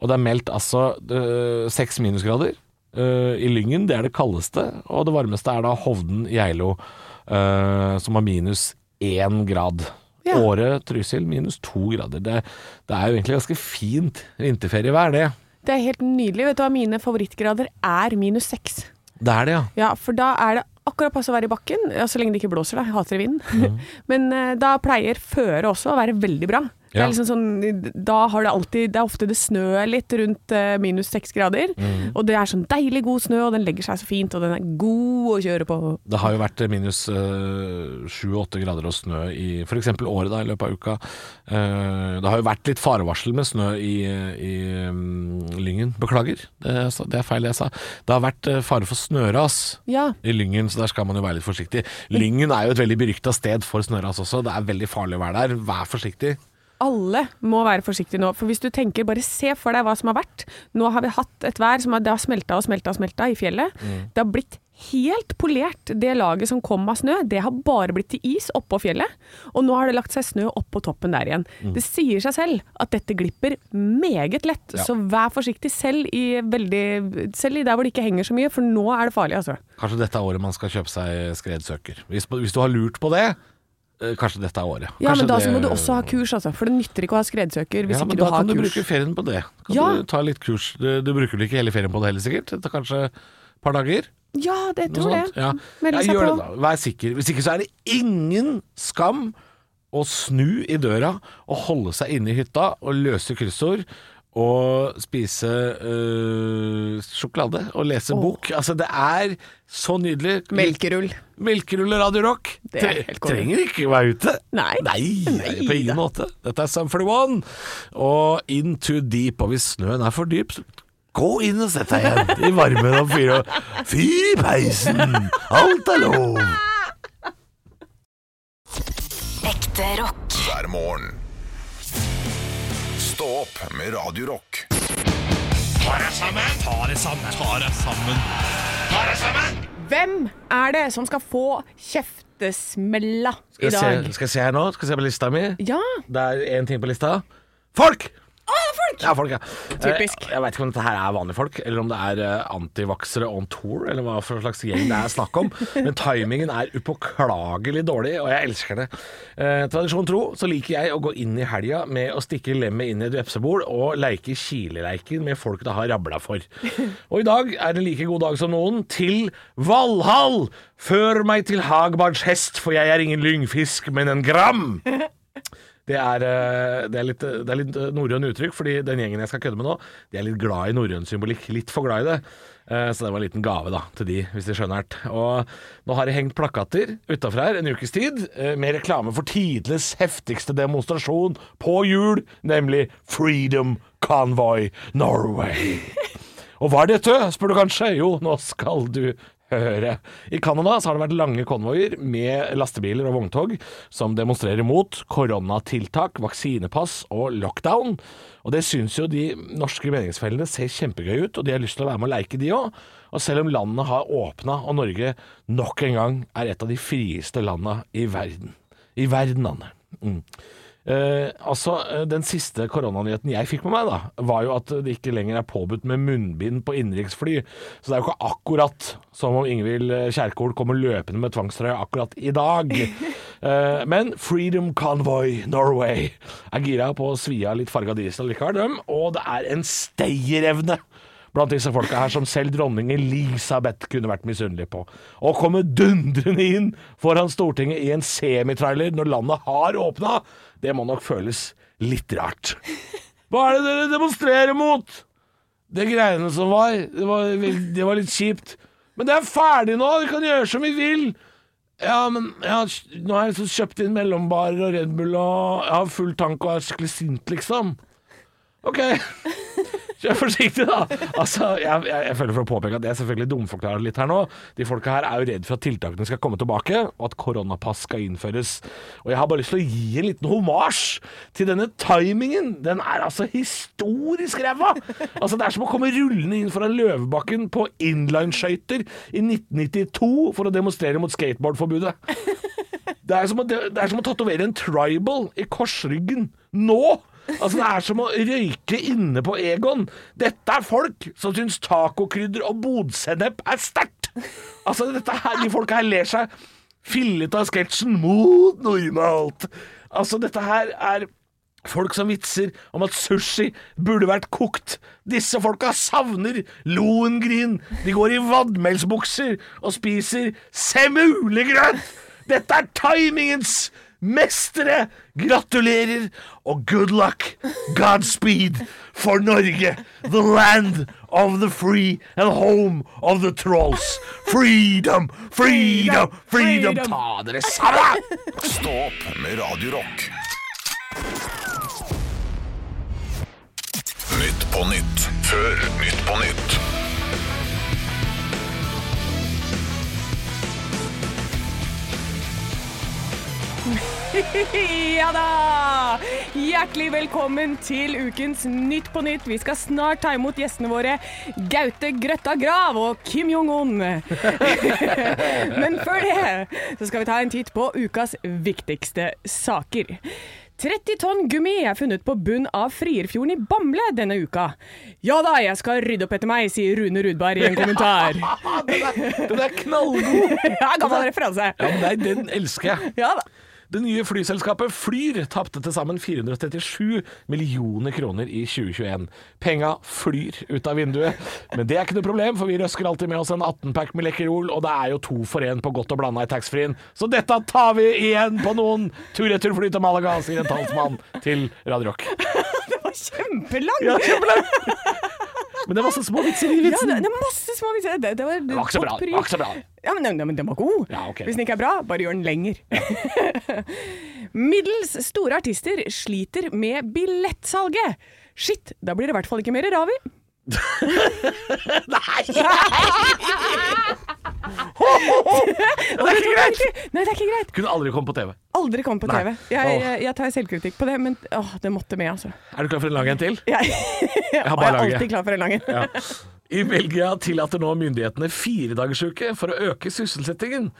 Speaker 3: og det er meldt altså eh, seks minusgrader. eh, I Lyngen, det er det kaldeste, og det varmeste er da Hovden, Geilo, eh, som har minus én grad.
Speaker 2: Ja.
Speaker 3: Året, Trysil, minus to grader. Det, det er jo egentlig ganske fint vinterferievær, det.
Speaker 2: Det er helt nydelig. Vet du hva mine favorittgrader er? Minus seks.
Speaker 3: Det er det, ja.
Speaker 2: Ja, for da er det akkurat passe å være i bakken, ja, så lenge det ikke blåser, da. Jeg hater vinden. Men eh, da pleier føre også å være veldig bra. Det
Speaker 3: Ja.
Speaker 2: er liksom sånn, da har det alltid Det er ofte det snør litt rundt eh, minus seks grader. Og det er sånn deilig god snø, og den legger seg så fint, og den er god å kjøre på.
Speaker 3: Det har jo vært minus eh, sju-åtte grader og snø i f.eks. året da, i løpet av uka. Eh, Det har jo vært litt farevarsel med snø i, i mm, Lyngen. Beklager, det, er sa- det er feil jeg sa. Det har vært eh, fare for snøras.
Speaker 2: Ja.
Speaker 3: I Lyngen, så der skal man jo være litt forsiktig. Lyngen er jo et veldig berykta sted for snøras også. Det er veldig farlig å være der. Vær forsiktig.
Speaker 2: Alle må være forsiktige nå, for hvis du tenker bare se for deg hva som har vært. Nå har vi hatt et vær som har, det har smelta og smelta og smelta i fjellet. Det har blitt helt polert. Det laget som kom av snø, det har bare blitt til is oppå fjellet. Og nå har det lagt seg snø oppå toppen der igjen. Det sier seg selv at dette glipper meget lett,
Speaker 3: Ja.
Speaker 2: så vær forsiktig selv i, veldig, selv i der hvor det ikke henger så mye, for nå er det farlig, altså.
Speaker 3: Kanskje dette er året man skal kjøpe seg skredsøker. Hvis, hvis du har lurt på det, eh, kanskje dette er året.
Speaker 2: Ja,
Speaker 3: Kanskje
Speaker 2: men da så
Speaker 3: det-
Speaker 2: må du også ha kurs, altså. For det nytter ikke å ha skredsøker hvis
Speaker 3: ja, men
Speaker 2: ikke du
Speaker 3: da
Speaker 2: har
Speaker 3: kan du
Speaker 2: kurs.
Speaker 3: bruke ferien på det. Kan
Speaker 2: Ja.
Speaker 3: du ta litt kurs. Du, du bruker vel ikke hele ferien på det heller, sikkert. Det tar kanskje et par dager.
Speaker 2: Ja, det
Speaker 3: Noe
Speaker 2: tror
Speaker 3: sånt.
Speaker 2: det.
Speaker 3: Ja.
Speaker 2: Melde
Speaker 3: Ja,
Speaker 2: seg
Speaker 3: gjør
Speaker 2: på.
Speaker 3: det, da. Vær sikker. Hvis ikke så er det ingen skam å snu i døra og holde seg inne i hytta og løse kryssord. Og spise øh, sjokolade og lese bok. Altså, det er så nydelig.
Speaker 2: Melkerull.
Speaker 3: Melkerull og Radio Rock.
Speaker 2: Det er
Speaker 3: Tre-
Speaker 2: helt korrekt.
Speaker 3: Trenger ikke å være ute.
Speaker 2: Nei. Nei
Speaker 3: på ingen måte. Dette er Sum 41 og In Too Deep. Og hvis snøen er for dyp, så gå inn og sett deg igjen i varmen og fyr og Fyr i peisen! Alt er lov!
Speaker 4: Ekte rock.
Speaker 1: hver morgen. Stå opp med Radio Rock.
Speaker 2: Hvem er det som skal få kjeftesmella i
Speaker 3: Skal jeg,
Speaker 2: dag?
Speaker 3: se, skal jeg se her nå? Skal jeg se på lista mi?
Speaker 2: Ja,
Speaker 3: Det er én ting på lista. Folk!
Speaker 2: folk!
Speaker 3: Ja, folk, ja.
Speaker 2: Typisk.
Speaker 3: Eh, Jeg veit ikke om dette her er vanlige folk, eller om det er eh, antivaksere on tour, eller hva for slags gjeng det er snakk om. Men timingen er upåklagelig dårlig, og jeg elsker det. Eh, tradisjon tro så liker jeg å gå inn i helga med å stikke lemmet inn i et vepsebol og leike kileleiken med folk det har rabla for. Og i dag er det en like god dag som noen til Valhall! Før meg til Hagbards hest, for jeg er ingen lyngfisk, men en gram! Det er, eh, det er litt, det er litt eh, norrøn uttrykk, fordi den gjengen jeg skal kødde med nå, de er litt glad i norrøn symbolikk. Litt for glad i det. Eh, Så det var en liten gave da, til de, hvis de skjønner det. Og nå har det hengt plakater utafor her en ukes tid eh, med reklame for tidenes heftigste demonstrasjon på jul, nemlig Freedom Convoy Norway. Og hva er dette, spør du kanskje? Jo, nå skal du høre. I Canada så har det vært lange konvoier med lastebiler og vogntog som demonstrerer mot koronatiltak, vaksinepass og lockdown. Og det syns jo de norske meningsfellene ser kjempegøy ut, og de har lyst til å være med og leike, de òg. Og selv om landene har åpna, og Norge nok en gang er et av de frieste landa i verden. I verden, Anne. Mm. Eh, altså, eh, Den siste koronanyheten jeg fikk med meg, da, var jo at det ikke lenger er påbudt med munnbind på innenriksfly. Så det er jo ikke akkurat som om Ingvild eh, Kjerkol kommer løpende med tvangstrøye akkurat i dag. Eh, men Freedom Convoy Norway er gira på å svi av litt farga diesel likevel, dem. Og det er en stayerevne blant disse folka her som selv dronning Elisabeth kunne vært misunnelig på. Å komme dundrende inn foran Stortinget i en semitrailer når landet har åpna, det må nok føles litt rart. Hva er det dere demonstrerer mot? Det greiene som var, det var, vel- det var litt kjipt. Men det er ferdig nå, vi kan gjøre som vi vil. Ja, men jeg har, nå har jeg så kjøpt inn mellombarer og Red Bull og jeg har full tank og er skikkelig sint, liksom. OK. Kjør forsiktig, da. Altså, jeg, jeg, jeg føler for å påpeke at jeg selvfølgelig dumforklarer litt her nå. De folka her er jo redd for at tiltakene skal komme tilbake, og at koronapass skal innføres. Og jeg har bare lyst til å gi en liten homasj til denne timingen. Den er altså historisk ræva! Altså, det er som å komme rullende inn foran Løvebakken på inlineskøyter i 1992 for å demonstrere mot skateboardforbudet. Det er som å, det er som å tatovere en tribal i korsryggen nå. Altså Det er som å røyke inne på Egon. Dette er folk som syns tacokrydder og bodsennep er sterkt. Altså dette her, De folka her ler seg fillet av sketsjen mot normalt. Altså Dette her er Folk som vitser om at sushi burde vært kokt. Disse folka savner Lohengrin. De går i vadmelsbukser og spiser semulegrøt. Dette er timingens mestere. Gratulerer og good luck. Godspeed for Norge. The land of the free and home of the trolls. Freedom, freedom, freedom. Ta dere sammen!
Speaker 1: Stå opp med Radio Rock. Nytt på nytt før Nytt på nytt.
Speaker 2: Ja da! Hjertelig velkommen til ukens Nytt på Nytt. Vi skal snart ta imot gjestene våre Gaute Grøtta Grav og Kim Jong-un. Men før det så skal vi ta en titt på ukas viktigste saker. 30 tonn gummi er funnet på bunn av Frierfjorden i Bamble denne uka. Ja da, jeg skal rydde opp etter meg, sier Rune Rudberg i en kommentar.
Speaker 3: Den er knallgod.
Speaker 2: Ja, gammel referanse.
Speaker 3: Ja, men nei, den elsker jeg.
Speaker 2: Ja da.
Speaker 3: Det nye flyselskapet Flyr tapte til sammen 437 millioner kroner i 2021. Penga flyr ut av vinduet, men det er ikke noe problem, for vi røsker alltid med oss en 18-pack med Lekkerol, og det er jo to for én på godt og blanda i taxfree-en. Så dette tar vi igjen på noen tur-retur-fly til Malaga, sier en talsmann til Radio Rock.
Speaker 7: Det var kjempelang!
Speaker 3: Ja, kjempelang. Men det var så små vitser i
Speaker 7: Ja,
Speaker 3: vitsen.
Speaker 7: det, det er masse små vitser. Det, det var
Speaker 3: var ikke så bra, det var ikke så bra.
Speaker 7: Ja, men, nei, men den var god.
Speaker 3: Ja, ok.
Speaker 7: Hvis den ikke er bra, bare gjør den lenger. Middels store artister sliter med billettsalget. Shit, da blir det i hvert fall ikke mer Ravi.
Speaker 3: Ja, det er ikke greit!
Speaker 7: Nei, det er ikke greit.
Speaker 3: Kunne aldri komme på TV.
Speaker 7: Aldri kom på
Speaker 3: Nei.
Speaker 7: TV. Jeg,
Speaker 3: Åh.
Speaker 7: jeg, jeg tar selvkritikk på det, men åh, det måtte med, altså.
Speaker 3: Er du klar for en lang en til?
Speaker 7: Jeg, og
Speaker 3: har
Speaker 7: jeg er
Speaker 3: bare laget.
Speaker 7: alltid klar for en lang en.
Speaker 3: Ja. I Belgia tillater nå myndighetene firedagersuke for å øke sysselsettingen.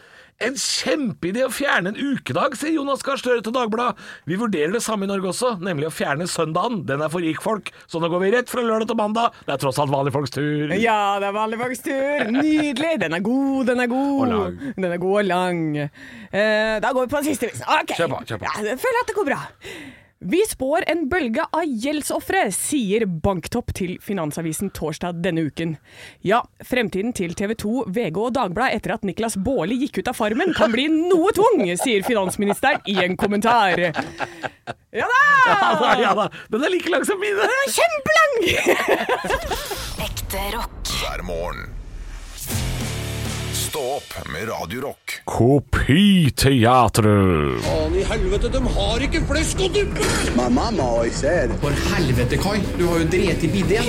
Speaker 3: En kjempeidé å fjerne en ukedag, sier Jonas Gahr Støre til Dagbladet. Vi vurderer det samme i Norge også, nemlig å fjerne søndagen. Den er for rikfolk, så nå går vi rett fra lørdag til mandag. Det er tross alt vanlige folks tur.
Speaker 7: Ja, det er vanlig folks tur. Nydelig. Den er god, den er god.
Speaker 3: Og lang.
Speaker 7: Den er god og lang. Eh, da går vi på den siste vitsen. Ok.
Speaker 3: Kjør på, kjør på.
Speaker 7: Ja, jeg føler at det går bra. Vi spår en bølge av gjeldsofre, sier Banktopp til Finansavisen torsdag denne uken. Ja, fremtiden til TV 2, VG og Dagbladet etter at Niklas Baarli gikk ut av Farmen kan bli noe tung, sier finansministeren i en kommentar. Ja
Speaker 3: Ja da,
Speaker 7: da!
Speaker 3: ja da. Den er like lang som mine.
Speaker 7: Kjempelang!
Speaker 4: Ekte rock.
Speaker 1: hver morgen. Stå opp med Radio Rock.
Speaker 3: Kopiteatret.
Speaker 8: i helvete, de har ikke flesk og duppe!
Speaker 9: My mama always said,
Speaker 8: For helvete, Kai. Du har jo drept i bidé.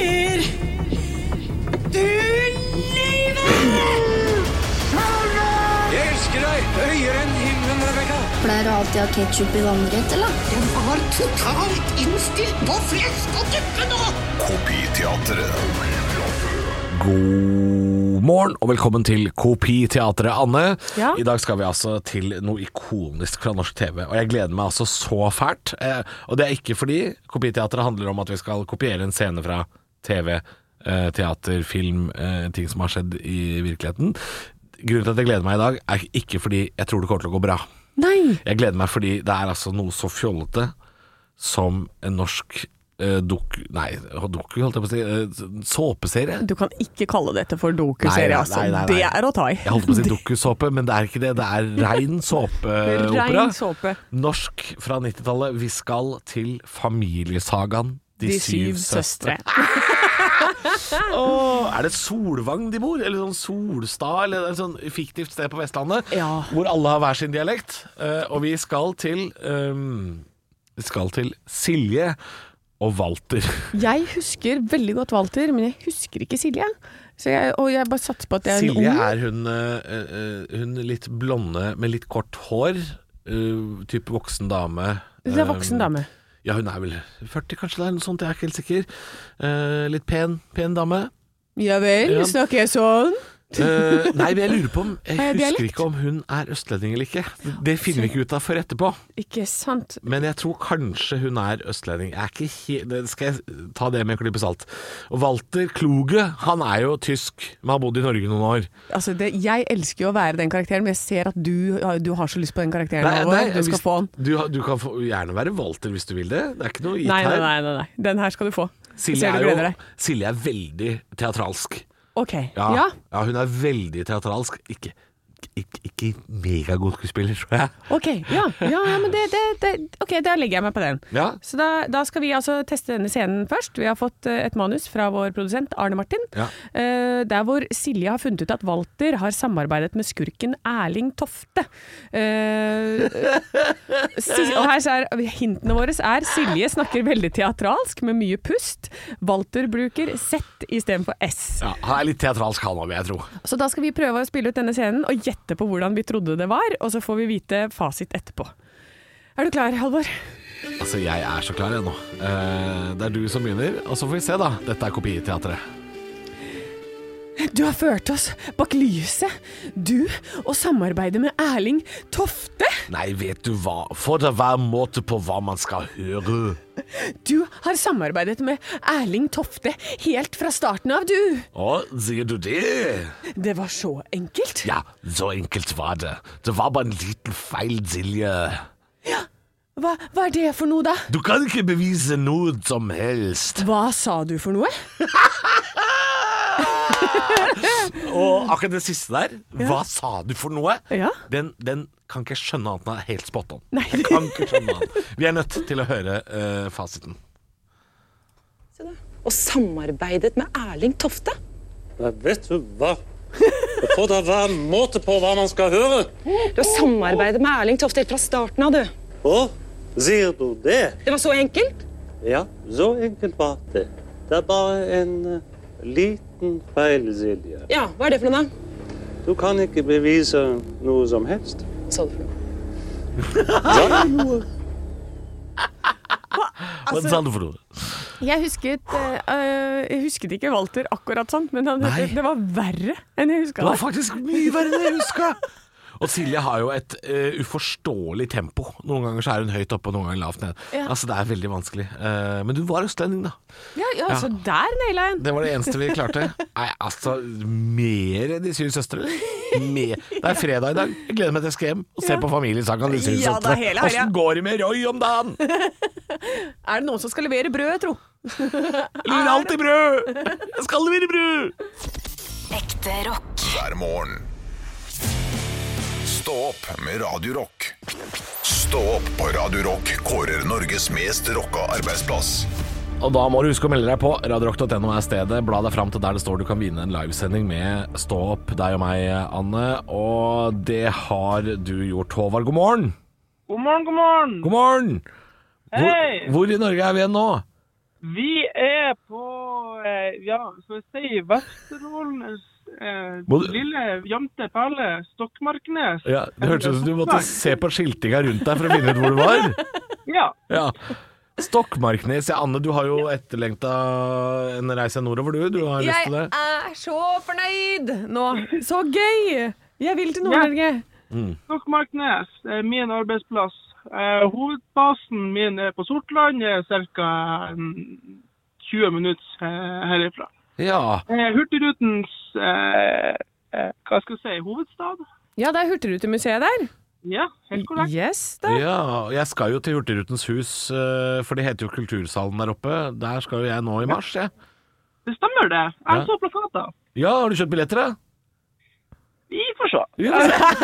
Speaker 8: Jeg elsker deg høyere enn himmelen, Rebekka.
Speaker 10: Pleier du alltid å ha ketsjup i vannrett, eller?
Speaker 8: De var totalt innstilt på flesk og duppe nå!
Speaker 1: Kopiteatret.
Speaker 3: God morgen og velkommen til Kopiteatret, Anne.
Speaker 2: Ja.
Speaker 3: I dag skal vi altså til noe ikonisk fra norsk TV, og jeg gleder meg altså så fælt. Eh, og det er ikke fordi Kopiteatret handler om at vi skal kopiere en scene fra TV, eh, teater, film, eh, ting som har skjedd i virkeligheten. Grunnen til at jeg gleder meg i dag, er ikke fordi jeg tror det kommer til å gå bra.
Speaker 2: Nei!
Speaker 3: Jeg gleder meg fordi det er altså noe så fjollete som en norsk eh, dok... Nei, doku, holdt jeg på å si. eh, såpeserie.
Speaker 7: Du kan ikke kalle dette for dokuserie,
Speaker 3: Nei, nei,
Speaker 7: altså.
Speaker 3: nei, nei, nei.
Speaker 7: Det er å ta i.
Speaker 3: Jeg holdt på å si dukkusåpe, men det er ikke det. Det er rein såpeopera.
Speaker 7: Rein såpe.
Speaker 3: Norsk fra 90-tallet. Vi skal til familiesagaen De, syv, søstre. Åh, er det Solvang de bor? Eller sånn Solstad? Eller et sånn fiktivt sted på Vestlandet
Speaker 7: Ja.
Speaker 3: hvor alle har hver sin dialekt. Eh, og vi skal til ehm, Vi skal til Silje og Walter.
Speaker 2: Jeg husker veldig godt Walter, men jeg husker ikke Silje. Så jeg, og jeg bare satser på at jeg er en
Speaker 3: Silje
Speaker 2: ung.
Speaker 3: er hun, eh, eh, hun litt blonde med litt kort hår. eh, type voksen dame.
Speaker 2: Det er en
Speaker 3: um,
Speaker 2: voksen dame.
Speaker 3: Ja, hun er vel 40 kanskje, det er noe sånt, jeg er ikke helt sikker. Eh, litt pen, pen dame.
Speaker 2: Ja vel,
Speaker 3: Ja.
Speaker 2: snakker jeg sånn?
Speaker 3: Eh, nei, men jeg lurer på om Jeg
Speaker 2: Har jeg
Speaker 3: husker
Speaker 2: dialekt?
Speaker 3: ikke om hun er østlending eller ikke. Det finner vi ikke ut av før etterpå.
Speaker 2: Ikke sant.
Speaker 3: Men jeg tror kanskje hun er østlending. Jeg er ikke helt, det skal jeg ta det med en klype salt. Og Walter Kluge, han er jo tysk, men har bodd i Norge noen år.
Speaker 2: Altså, det, jeg elsker jo å være den karakteren, men jeg ser at du, du har så lyst på den karakteren.
Speaker 3: Nei,
Speaker 2: Halvor.
Speaker 3: nei,
Speaker 2: du skal
Speaker 3: hvis-
Speaker 2: få den.
Speaker 3: Du, har- du kan få, gjerne være Walter hvis du vil det. Det er ikke noe gitt
Speaker 2: Nei, nei,
Speaker 3: her.
Speaker 2: nei, nei, nei. Den her skal du få.
Speaker 3: Silje,
Speaker 2: Ser du
Speaker 3: er
Speaker 2: gleder
Speaker 3: jo,
Speaker 2: deg.
Speaker 3: Silje er veldig teatralsk.
Speaker 2: Ok.
Speaker 3: Ja,
Speaker 2: ja.
Speaker 3: ja. hun er veldig teatralsk. Ikke, ikke, ikke megagod skuespiller, tror jeg.
Speaker 2: Ok, ja, ja, ja men det, det, det, ok, da legger jeg meg på den.
Speaker 3: Ja.
Speaker 2: Så da, da skal vi altså teste denne scenen først. Vi har fått eh, et manus fra vår produsent Arne Martin.
Speaker 3: Ja.
Speaker 2: Eh, der hvor Silje har funnet ut at Walter har samarbeidet med skurken Erling Tofte. Eh, Si- og her så er, hintene våre er Silje snakker veldig teatralsk med mye pust. Walter bruker Z istedenfor S.
Speaker 3: Ja, han er litt teatralsk han òg, vil jeg tro.
Speaker 2: Så da skal vi prøve å spille ut denne scenen og gjette på hvordan vi trodde det var, og så får vi vite fasit etterpå. Er du klar, Halvor?
Speaker 3: Altså, jeg er så klar, jeg nå. Eh, det er du som begynner, og så får vi se, da. Dette er Kopiteatret.
Speaker 2: Du har ført oss bak lyset. Du og samarbeidet med Erling Tofte.
Speaker 3: Nei, vet du hva. For det hver måte på hva man skal høre.
Speaker 2: Du har samarbeidet med Erling Tofte helt fra starten av, du.
Speaker 3: Å, sier du det?
Speaker 2: Det var så enkelt.
Speaker 3: Ja, så enkelt var det. Det var bare en liten feil, Silje.
Speaker 2: Hva, hva er det for noe, da?
Speaker 3: Du kan ikke bevise noe som helst.
Speaker 2: Hva sa du for noe?
Speaker 3: Og akkurat det siste der, hva sa du for noe?
Speaker 2: Ja.
Speaker 3: Den, den kan ikke jeg skjønne annet enn er helt spot on.
Speaker 2: Nei.
Speaker 3: Jeg kan ikke skjønne annet. Vi er nødt til å høre eh, fasiten.
Speaker 11: og samarbeidet med Erling Tofte.
Speaker 12: Vet du hva? Det får da være en måte på hva man skal høre.
Speaker 11: Du har samarbeidet med Erling Tofte helt fra starten av, du.
Speaker 12: Å, sier du det?
Speaker 11: Det var så enkelt.
Speaker 12: Ja, så enkelt var det. Det er bare en eh, liten feil, Silje.
Speaker 11: Ja, hva er det for noe, da?
Speaker 12: Du kan ikke bevise noe som helst.
Speaker 11: Hva sa du for noe?
Speaker 12: Ja, noe.
Speaker 3: Hva
Speaker 2: Altså-
Speaker 3: sa du for noe?
Speaker 2: Jeg husket, eh, jeg husket ikke Walter akkurat sånn, men han,
Speaker 3: Nei.
Speaker 2: det, det var verre enn jeg huska.
Speaker 3: Det var faktisk mye verre enn jeg huska. Og Silje har jo et eh, uforståelig tempo. Noen ganger så er hun høyt oppe, og noen ganger lavt nede.
Speaker 2: Ja.
Speaker 3: Altså, det er veldig vanskelig. Eh, men du var østlending, da.
Speaker 2: Ja, ja,
Speaker 3: Ja.
Speaker 2: så der naila jeg
Speaker 3: Det var det eneste vi klarte. Nei, altså, mer De syv søstre. Mer. Det er fredag i dag. Jeg gleder meg til jeg skal hjem og se på Familiesaken. De syv
Speaker 2: Ja, da,
Speaker 3: søstre.
Speaker 2: hele helga.
Speaker 3: Åssen går det med Roy om dagen?
Speaker 2: Er det noen som skal levere brød, tro?
Speaker 3: Lurer alltid brød! Jeg skal levere brød!
Speaker 4: Ekte rock.
Speaker 1: hver morgen. Stå opp med Radio Rock. Stå opp på Radio Rock kårer Norges mest rocka arbeidsplass.
Speaker 3: Og da må du huske å melde deg på. Radiorock.no er stedet. Bla deg fram til der det står du kan vinne en livesending med Stå opp, deg og meg, Anne. Og det har du gjort, Håvard. God morgen!
Speaker 13: God morgen, god morgen.
Speaker 3: God morgen! Hvor,
Speaker 13: Hei!
Speaker 3: hvor i Norge er vi igjen nå?
Speaker 13: Vi er på eh, ja, skal vi si Vesterålenes eh,
Speaker 3: Må du-
Speaker 13: lille jante perle, Stokmarknes.
Speaker 3: Ja, det hørtes ut som du måtte se på skiltinga rundt deg for å finne ut hvor du var.
Speaker 13: Ja.
Speaker 3: Ja. Stokmarknes. Ja, Anne, du har jo etterlengta en reise nordover, du. Du har lyst
Speaker 2: Jeg
Speaker 3: til det?
Speaker 2: er så fornøyd nå. Så gøy! Jeg vil til Nord-Norge.
Speaker 3: Mm.
Speaker 13: Stokmarknes er min arbeidsplass. Eh, hovedbasen min er på Sortland, det er ca. 20 minutter eh, herifra.
Speaker 3: Ja.
Speaker 13: Eh, Hurtigrutens eh, eh, hva skal jeg si, hovedstad?
Speaker 2: Ja, det er Hurtigrutemuseet der.
Speaker 13: Ja, helt korrekt.
Speaker 2: Yes, da.
Speaker 3: ja. og Jeg skal jo til Hurtigrutens hus, eh, for det heter jo Kultursalen der oppe. Der skal jo jeg nå i mars, jeg.
Speaker 13: Det stemmer det. Jeg
Speaker 3: Ja.
Speaker 13: så plakater.
Speaker 3: Ja, har du kjøpt billetter, da?
Speaker 13: Vi får se.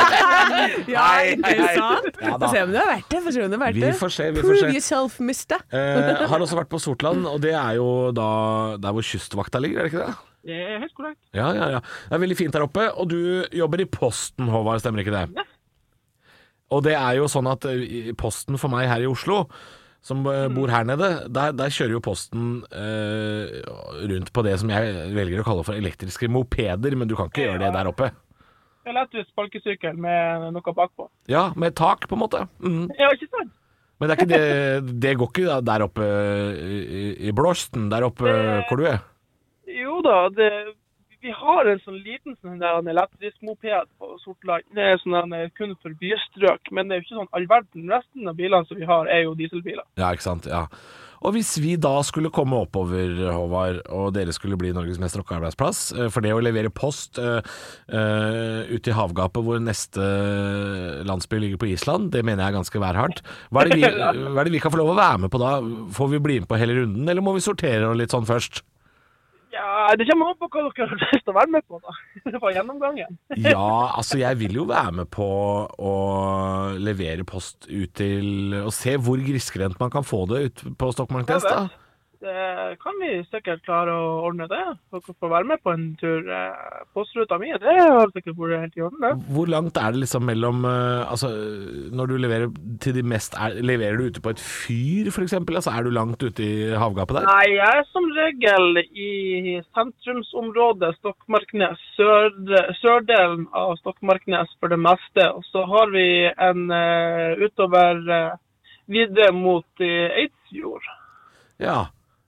Speaker 2: Ja,
Speaker 3: Hei, hei,
Speaker 2: ikke
Speaker 3: hei.
Speaker 2: sant?
Speaker 3: Ja, da.
Speaker 2: Få se om du er verdt det. Få se om du er verdt
Speaker 3: Vi
Speaker 2: det.
Speaker 3: får se, vi får
Speaker 2: Prove
Speaker 3: se.
Speaker 2: yourself, mister.
Speaker 3: Eh, har også vært på Sortland, og det er jo da der hvor Kystvakta ligger, er det ikke det?
Speaker 13: Det er helt korrekt.
Speaker 3: Ja, ja, ja. Det er veldig fint der oppe. Og du jobber i Posten, Håvard, stemmer ikke det? Og det er jo sånn at eh, Posten for meg her i Oslo, som eh, bor her nede, der, der kjører jo Posten eh, rundt på det som jeg velger å kalle for elektriske mopeder, men du kan ikke gjøre det der oppe.
Speaker 13: Det er lett ut sparkesykkel med noe bakpå.
Speaker 3: Ja, med tak, på en måte. Mhm.
Speaker 13: Ja, ikke sant?
Speaker 3: Men det, er ikke det, det går ikke da- der oppe i, i blåsten, der oppe hvor du er.
Speaker 13: Jo da, det, vi har en sånn liten sånn der en elektrisk moped på Sortland. Det er sånn en, eh, kun for bystrøk, men det er jo ikke sånn all verden. Resten av bilene som vi har, er jo dieselbiler.
Speaker 3: Ja, ikke sant. Ja. Og hvis vi da skulle komme oppover, Håvard, og dere skulle bli Norges mest rocka arbeidsplass, eh, for det å levere post eh, eh, ute i havgapet hvor neste eh, landsby ligger på Island, det mener jeg er ganske værhardt. Hva er, det vi, hva er det vi kan få lov å være med på da? Får vi bli med på hele runden, eller må vi sortere og litt sånn først?
Speaker 13: Ja, Det kommer an på hva dere har lyst til å være med på, da. Det var gjennomgangen.
Speaker 3: Ja, altså jeg vil jo være med på å levere post ut til Og se hvor grisgrendt man kan få det ut på Stokmarknes, da.
Speaker 13: Det kan vi sikkert klare å ordne det. Dere får være med på en tur. eh, Postruta mi, det har sikkert vært helt i orden, det.
Speaker 3: Hvor langt er det liksom mellom eh, Altså, når du leverer til de mest er, Leverer du ute på et fyr, for eksempel? Altså, er du langt ute i havgapet der?
Speaker 13: Nei, jeg er som regel i sentrumsområdet Stokmarknes, sør, sørdelen av Stokmarknes for det meste. Og så har vi en eh, utover eh, videre mot eh, Eidsfjord.
Speaker 3: Ja.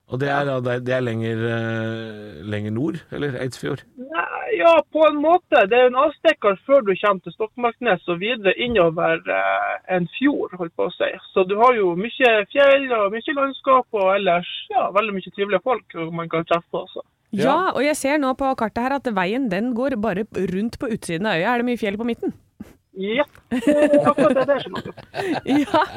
Speaker 3: Og det er, da- det er- det er lenger, eh, lenger nord? Eller Eidsfjord?
Speaker 13: Nei, Eh, Ja, på en måte. Det er en avstikker før du kommer til Stokmarknes og videre innover eh, en fjord, holdt på å si. Så du har jo mye fjell og mye landskap og ellers ja, veldig mye trivelige folk man kan treffe også.
Speaker 2: Ja, og jeg ser nå på kartet her at veien den går bare rundt på utsiden av øya. Er det mye fjell på midten?
Speaker 13: Ja, akkurat det er det som er
Speaker 2: ja.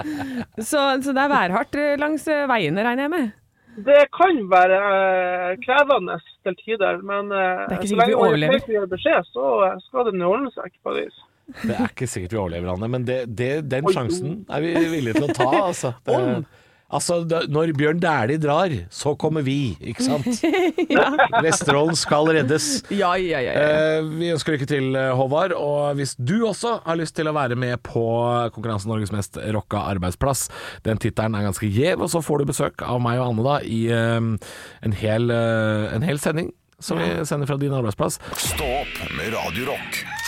Speaker 2: Så, så det er værhardt eh, langs eh, veiene, regner jeg med.
Speaker 13: Det kan være eh, krevende til tider, men eh,
Speaker 2: Det er ikke
Speaker 13: så
Speaker 2: sikkert vi
Speaker 13: lenge
Speaker 2: overlever.
Speaker 13: folk gir beskjed, så eh, skal det nå ordne seg på et vis.
Speaker 3: Det er ikke sikkert vi overlever, Anne, men det, det, den
Speaker 13: Oi.
Speaker 3: sjansen er vi villige til å ta. Altså, det,
Speaker 13: Om.
Speaker 3: altså da- Når Bjørn Dæhlie drar, så kommer vi, ikke sant? Vesterålen skal reddes.
Speaker 2: Ja, ja, ja.
Speaker 3: Eh, vi ønsker lykke til, eh, Håvard. Og hvis du også har lyst til å være med på konkurransen Norges mest rocka arbeidsplass, den tittelen er ganske gjev, og så får du besøk av meg og Anne da i eh, en, hel, eh, en hel sending som vi sender fra din arbeidsplass.
Speaker 1: Stå opp med Radio Rock.